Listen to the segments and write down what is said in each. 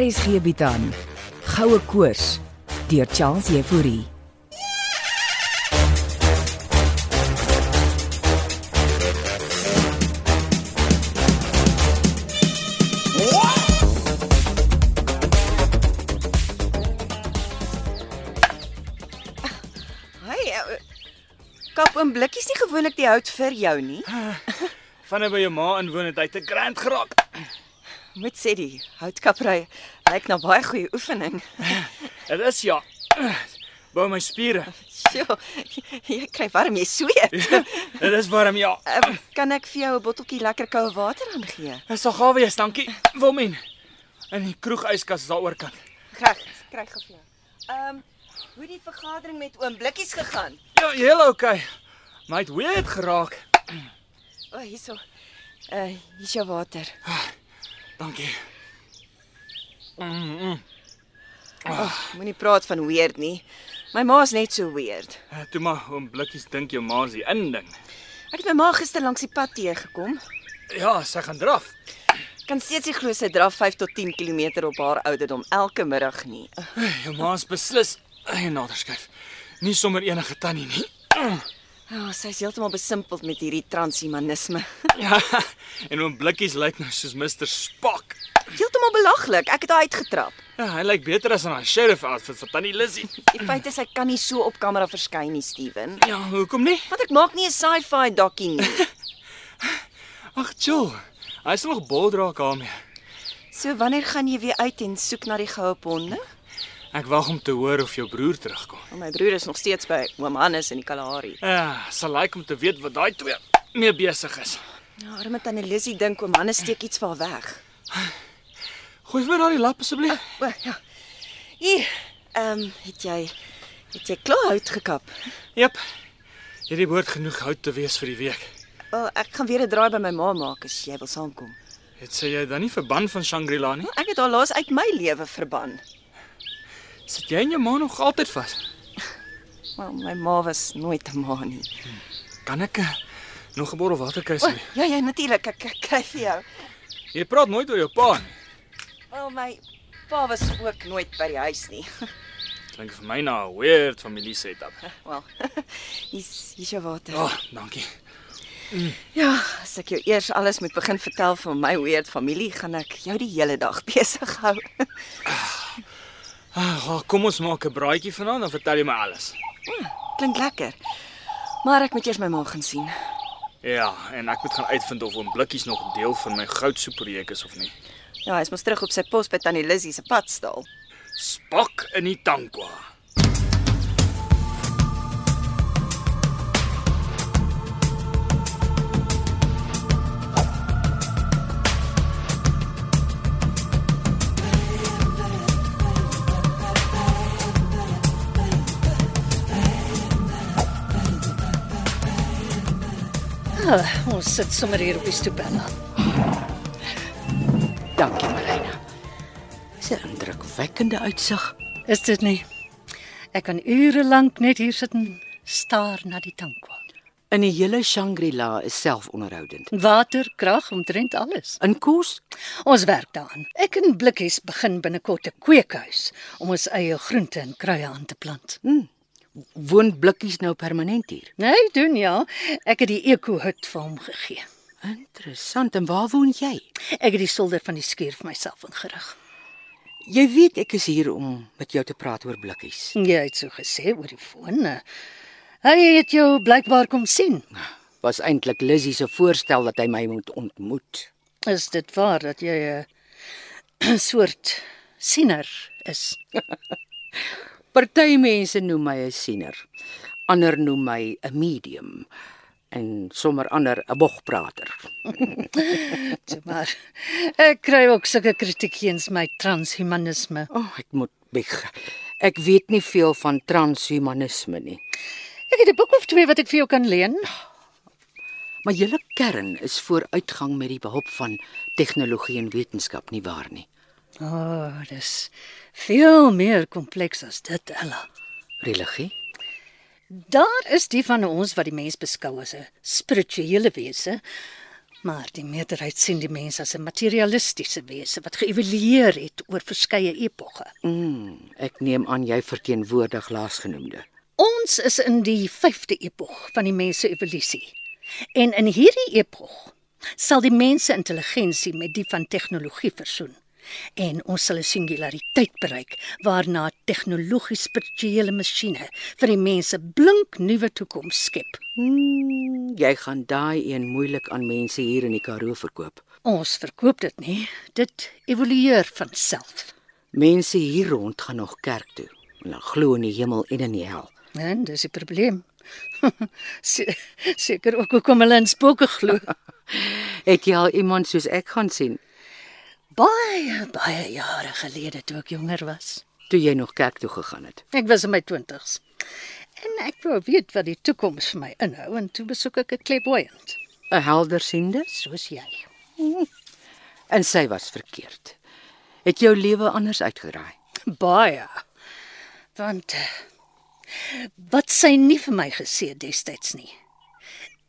RSG bied aan Goue Koors deur Charles Euphorie. Hey, ou- kap oom blikkies nie gewoonlik die hout vir jou nie. Van hy by jou ma inwoon het hy te grand geraak. Moet sê die houtkapry lyk na baie goeie oefening. Dit is ja. Bou my spiere. Sjoe, jy kry warm, jy sweet. Dit is warm ja. Eh, kan ek vir jou 'n botteltjie lekker koue water aangee? Dis al gawe jy's, dankie. Wilmen. In die kroeg yskas is daar oorkant. Graag, kry gou vir jou. Ehm, um, hoe die vergadering met oom blikkies gegaan? Ja, heel okay. My het weird geraak. O, oh, hierso. Uh, hier's jou water. Dankie. Mm, Moenie praat van weird nie. My ma's net so weird. Eh, Toe maar oom blikkies dink jou ma is die inding. Ek het my ma gister langs die pad teëgekom. Ja, sy gaan draf. Kan steeds nie glo sy draf 5 tot 10 km op haar ouderdom elke middag nie. Eh, Jou ma is beslis 'n naderskuif. Nie sommer enige tannie nie. Ja, oh, sy's heeltemal besimpeld met hierdie transhumanisme. Ja. En oom blikkies lyk nou soos Mr Spock. Heeltemal belaglik. Ek het haar uitgetrap. Ja, hy lyk beter as in haar sheriff outfit vir tannie Lizzie. Die feit is hy kan nie so op kamera verskyn nie, Steven. Ja, hoekom nie? Want ek maak nie 'n sci-fi dokkie nie. Ag, chill. Hy sal nog bol draak daarmee. So wanneer gaan jy weer uit en soek na die goue ponde? Ek wag om te hoor of jou broer terugkom. Want Oh, my broer is nog steeds by oom Hannes in die Kalahari. Ja, sal like om te weet wat daai twee mee besig is. Ja, arme tannie Lizzie dink oom Hannes steek iets vir haar weg. Gooi vir daai lap asseblief. O, ja. Hier, ehm, um, het jy het jy klaar hout gekap? Jep. Hierdie behoort genoeg hout te wees vir die week. Wel, ek gaan weer 'n draai by my ma maak as jy wil saamkom. Het sê jy dan nie verban van Shangri-La nie? Oh, Ek het haar laas uit my lewe verban. Sit jy en jou ma nog altyd vas? Wel, my ma was nooit 'n ma nie. Kan ek eh, nog 'n bottel water kry O, asseblief? ja ja, natuurlik. Ek, ek kry vir jou. Jy praat nooit oor jou pa nie. Wel, my pa was ook nooit by die huis nie. Klink vir my na 'n weird familie setup. Wel. Hier's hier's jou water. Ja, oh, dankie. Ja, as ek jou eers alles moet begin vertel van my weird familie, gaan ek jou die hele dag besig hou. Ag, Ah, oh, kom ons maak 'n braaitjie vanaand dan vertel jy my alles. Klink lekker. Maar ek moet eers my ma gaan sien. Ja, en ek moet gaan uitvind of oom Blikkies nog deel van my goudsoeprojek is of nie. Ja, hy's mos terug op sy pos by tannie Lizzie se padstal. Spak in die tankwa. Ons sit sommer hier op die stoep en dan. Dankie, Marina. Dis 'n indrukwekkende uitsig. Is dit nie? Ek kan ure lank net hier sit en staar na die tankwa. In die hele Shangri-La is selfonderhoudend. Water, krag, omtrent alles. In kos, Ons werk daaraan. Ek en Blikkies begin binnekort 'n kweekhuis om ons eie groente en kruie aan te plant. woon blikkies nou permanent hier. Nee, doen ja. Ek het die ekohut vir hom gegee. Interessant. En waar woon jy? Ek het die solder van die skuur vir myself ingerig. Jy weet ek is hier om met jou te praat oor blikkies. Jy het so gesê oor die foon. eh. Hy het jou blykbaar kom sien. Was eintlik Lizzie se voorstel dat hy my moet ontmoet. Is dit waar dat jy 'n soort siener is? Party mense noem my 'n siener. Ander noem my 'n medium en sommer ander 'n bogprater. Toe maar ek kry ook sulke kritiek eens my transhumanisme. O, oh, ek moet beg. Ek weet nie veel van transhumanisme nie. Ek het 'n boek of twee wat ek vir jou kan leen. Maar julle kern is vooruitgang met die behulp van tegnologie en wetenskap nie waar nie. O, oh, dis veel meer kompleks as dit, Ella. Religie? Daar is die van ons wat die mens beskou as 'n spirituele wese Maar die meerderheid sien die mens as 'n materialistiese wese wat geëvalueer het oor verskeie epoge. Mm, ek neem aan jy verteenwoordig laasgenoemde. Ons is in die 5de epoch van die mens se evolusie. En in hierdie epoch sal die mens se intelligensie met die van tegnologie versoen en ons sal 'n singulariteit bereik waarna tegnologies spirituele masjiene vir die mense blink nuwe toekoms skep. Mm, jy gaan daai een moeilik aan mense hier in die Karoo verkoop. Ons verkoop dit nie, dit evolueer van self. Mense hier rond gaan nog kerk toe en dan glo in die hemel en in die hel. En dis die probleem. Se- Seker ook hoekom hulle in spooke glo. Het jy al iemand soos ek gaan sien Baie baie jare gelede toe ek jonger was. toe jy nog kerk toe gegaan het? Ek was in my 20's. En ek wou weet wat die toekoms vir my inhou en toe besoek ek 'n clairvoyant, 'n Heldersiende soos jy. en sy was verkeerd. Het jou lewe anders uitgeraai. Baie. Want eh, wat sy nie vir my gesê het destyds nie,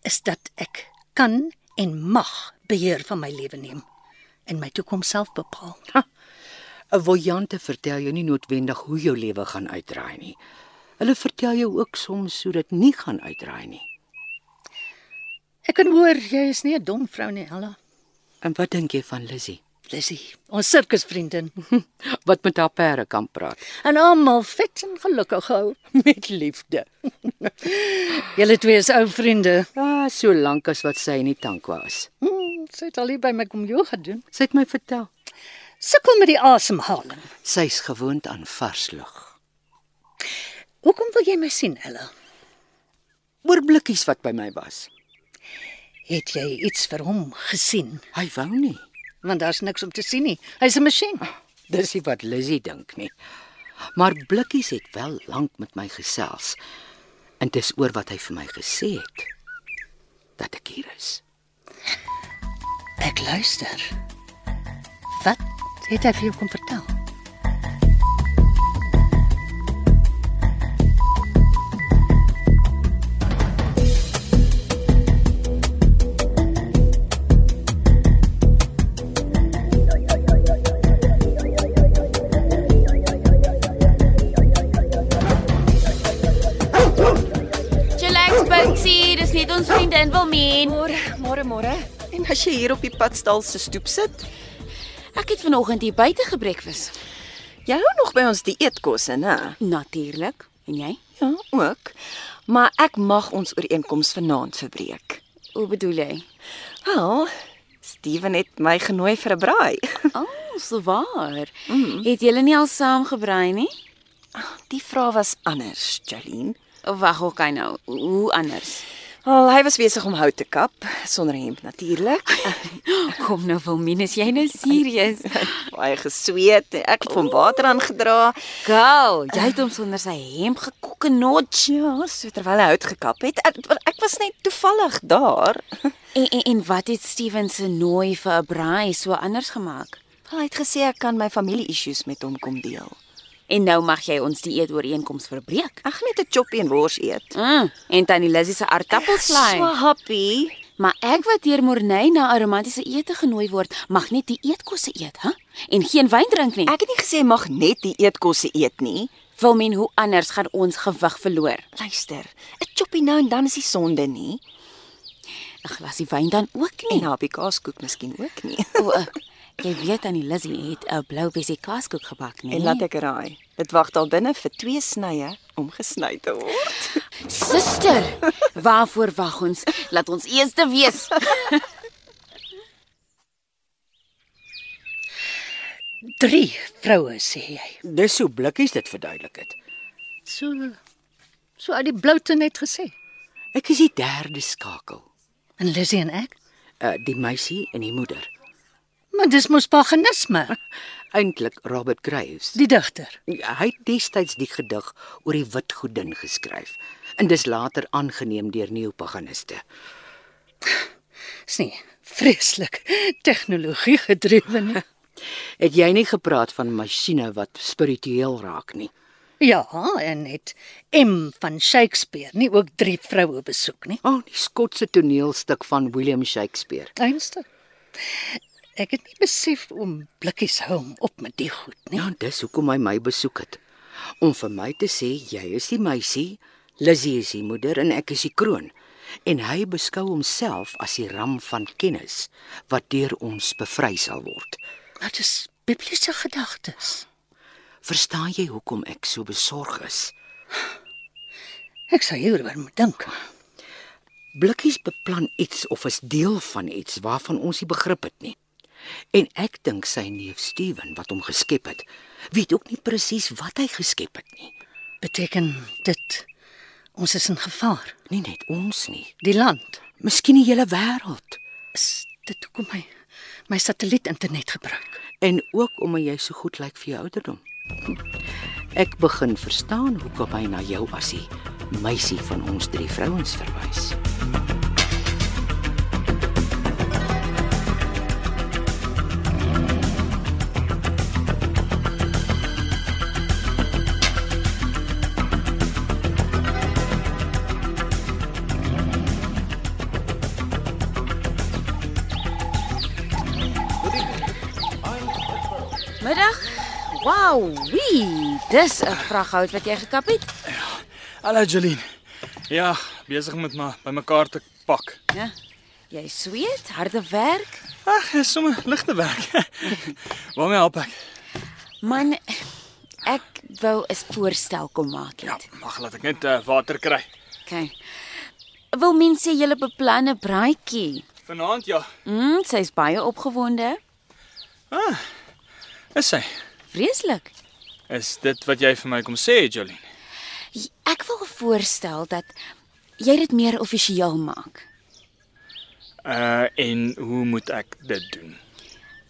is dat ek kan en mag beheer van my lewe neem en my toekoms self bepaal. 'n Voyante vertel jou nie noodwendig hoe jou lewe gaan uitdraai nie. Hulle vertel jou ook soms hoe dit nie gaan uitdraai nie. Ek kan hoor jy is nie 'n dom vrou nie, Ella. En wat dink jy van Lizzie? Lizzie, ons sirkusvriendin. Wat met haar perde kan praat En almal vet en gelukkig hou. met liefde. Julle twee is ou vriende. Ah, so lank as wat sy in die tankwa is. Hmm, sy het al hier by my kom yoga doen. Sy het my vertel Sukkel met die asemhaling. sy's gewoond aan vars lug. Hoekom wil jy my sien, Ella? Oor blikkies wat by my was. Het jy iets vir hom gesien? Hy wou nie. Want daar's niks om te sien nie. Hy's 'n masjien. Dis nie wat Lizzie dink nie. Maar Blikkies het wel lank met my gesels. En dis oor wat hy vir my gesê het dat ek hier is. Ek luister. Wat het hy vir jou kom vertel? Chillax Buxie, dis net ons vriendin Wilmien. Môre, môre, môre. En as jy hier op die padstal se stoep sit, Ek het vanoggend hier buite gebrekfus. jy hou nog by ons dieetkosse, né? Natuurlik. En jy? Ja, ook. Maar ek mag ons ooreenkoms vanaand verbreek. Hoe bedoel jy? Wel, Steven het my genooi vir 'n braai. O, oh, so waar. Mm. Mhm. Het julle nie al saam gebrei nie? Die vraag was anders, Jolene. Of Wag, hoe kan nou? Hoe anders? Al hy was besig om hout te kap sonder 'n hemp natuurlik. Kom nou Wilmien, is jy nou serieus? Baie gesweet. Ek het hom water aangedra. Girl, jy het hom sonder sy hemp gekok en notch. Ja, so terwyl hy hout gekap het. Ek, ek was net toevallig daar. En, en en wat het Steven se nooi vir 'n braai so anders gemaak? Wel, Hy het gesê ek kan my familie-issues met hom kom deel. En nou mag jy ons dieet ooreenkoms verbreek. Ek gaan net 'n chop en wors eet. Mm, en tannie Lizzie se aardappelslaai. So happy. Maar ek wat deur Morney na 'n romantiese ete genooi word, mag net die eetkosse eet, hè? En geen wyn drink nie. Ek Ek het nie gesê jy mag net die eetkosse eet nie. wil men hoe anders gaan ons gewig verloor. Luister, 'n choppie nou en dan is nie sonde nie. 'n Glasie wyn dan ook En nie. 'n happie kaaskoek miskien ook nie. O, uh, jy weet aan die Lizzie het 'n blou bessie kaaskoek gebak, nee. En laat ek raai, dit wag daar binne vir twee snye om gesny te word. suster, waarvoor wag ons? Laat ons eerste wees. Drie vroue sê jy. Dis hoe Blikkies dit verduidelik het. So so uit die bloute net gesê. Ek is die derde skakel. En Lizzie en ek? Uh die meisie en die moeder. Maar dis mos paganisme, Eintlik Robert Graves. die digter. Hy het destyds die gedig oor die wit godin geskryf en dis later aangeneem deur neopaganiste. Dis nie vreeslik tegnologie gedrewe nie. Het jy nie gepraat van masjiene wat spiritueel raak nie? Ja, en net M van Shakespeare, nie ook drie vroue besoek nie. O, oh, die Skotse toneelstuk van William Shakespeare. Einste. Ek het nie besef om blikkies hou hom op met die goed nie. Ja, dis hoekom hy my besoek het. Om vir my te sê jy is die meisie, Lizzie is die moeder en ek is die kroon. En hy beskou homself as die ram van kennis wat deur ons bevry sal word. Maar dis Bybelse gedagtes. Verstaan jy hoekom ek so besorg is? Ek sal hieroor moet dink. Blikkies beplan iets of is deel van iets waarvan ons nie begrip het nie. En ek dink sy neef Steven wat hom geskep het, weet ook nie presies wat hy geskep het nie. Beteken dit ons is in gevaar. Nie net ons nie, Die land miskien die hele wêreld. is dit hoekom my my satelliet internet gebruik. En ook omdat jy so goed lyk vir jou ouderdom. Ek begin verstaan hoekom hy na jou as die meisie van ons drie vrouens verwys. Middag. Wow, wie? Dis 'n vrag hout wat jy gekap het. Hallo Jolene. Ja, besig met my bymekaar te pak. Ja. Jy sweet, harde werk. Ag, dis sommer ligte werk. Waarmee help ek? Man, ek wou 'n voorstel kom maak Ja, het. mag laat ek net uh, water kry. Okay. Wil mense julle beplan 'n braaitjie? Vanaand ja. Mm, sy's baie opgewonde. Is hy? Vreeslik. Is dit wat jy vir my kom sê, Jolene? J- Ek wil voorstel dat jy dit meer offisieel maak. Uh en hoe moet ek dit doen?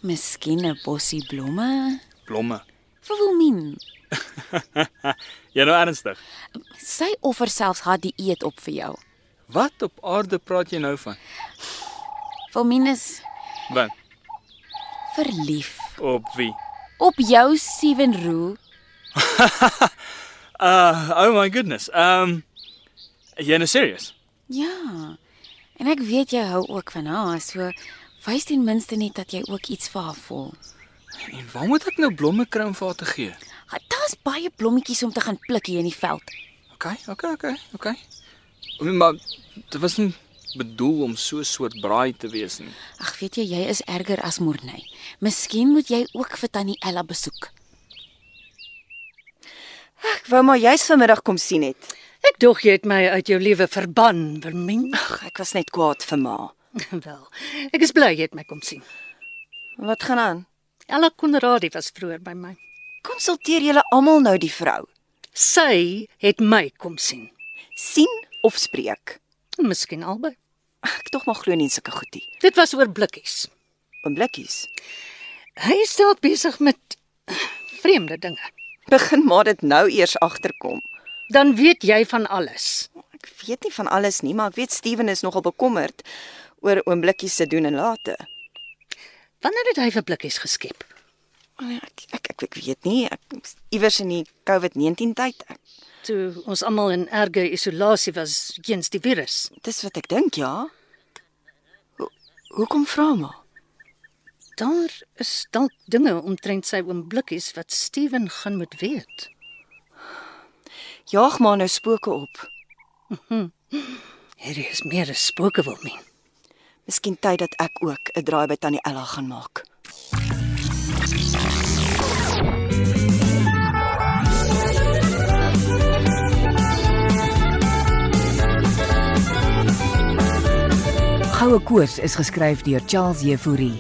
Miskien 'n bossie blomme Blomme. vir Wilmien. Jy nou ernstig? Sy offer selfs haar dieet op vir jou. Wat op aarde praat jy nou van? Wilmien is Wat? verlief Op wie? op jou Steven Roo. Uh oh my goodness. Um jy nou serious? Ja. En ek weet jy hou ook van haar, so wys ten minste net dat jy ook iets vir haar voel. En waar moet ek nou blomme kry om vir haar te gee? Ha, Daar's baie blommetjies om te gaan pluk hier in die veld. Okay, okay, okay, okay. Maar dit was nie bedoel om so 'n soort braai te wees nie. Ag, weet jy, jy is erger as Morney. Miskien moet jy ook vir Tannie Ella besoek. Ek wou maar juis vanmiddag kom sien het. Ek dog jy het my uit jou lewe verban, Wilmien. Ag, ek was net kwaad vir ma. Wel, ek is bly jy het my kom sien. Wat gaan aan? Ella Konradi was vroeër by my. Konsulteer julle almal nou die vrou. Sy het my kom sien. Sien of spreek. Miskien albei. Ek tog maar glo nie in sulke goedie. Dit was oor blikkies. Oomblikkies. Hy is dalk besig met eh, vreemde dinge. Begin maar dit nou eers agterkom. Dan weet jy van alles. Ek weet nie van alles nie, maar ek weet Steven is nogal bekommerd oor oomblikkies se doen en late. Wanneer het hy vir blikkies geskep? nee, Ek ek ek, ek weet nie, ek iewers in die COVID-19 tyd. Ek, Toe ons almal in erge isolasie was teens die virus. dis wat ek dink, ja. Ho, hoekom vra maar? Daar is dalk dinge omtrent sy oom blikkies wat Steven gaan moet weet. Jaag maar nou spooke op. Hierdie is meer 'n spooke wil men. Miskien tyd dat ek ook 'n draai by Tannie Ella gaan maak. Goue koers is geskryf deur Charles Jefouri.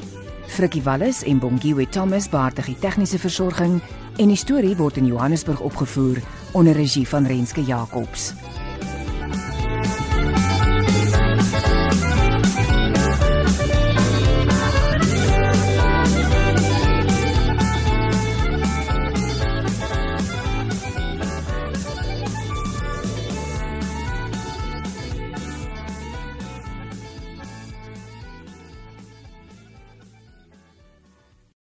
Frikkie Wallis en Bongiwe Thomas baartig die tegniese versorging en die storie word in Johannesburg opgevoer onder regie van Renske Jacobs.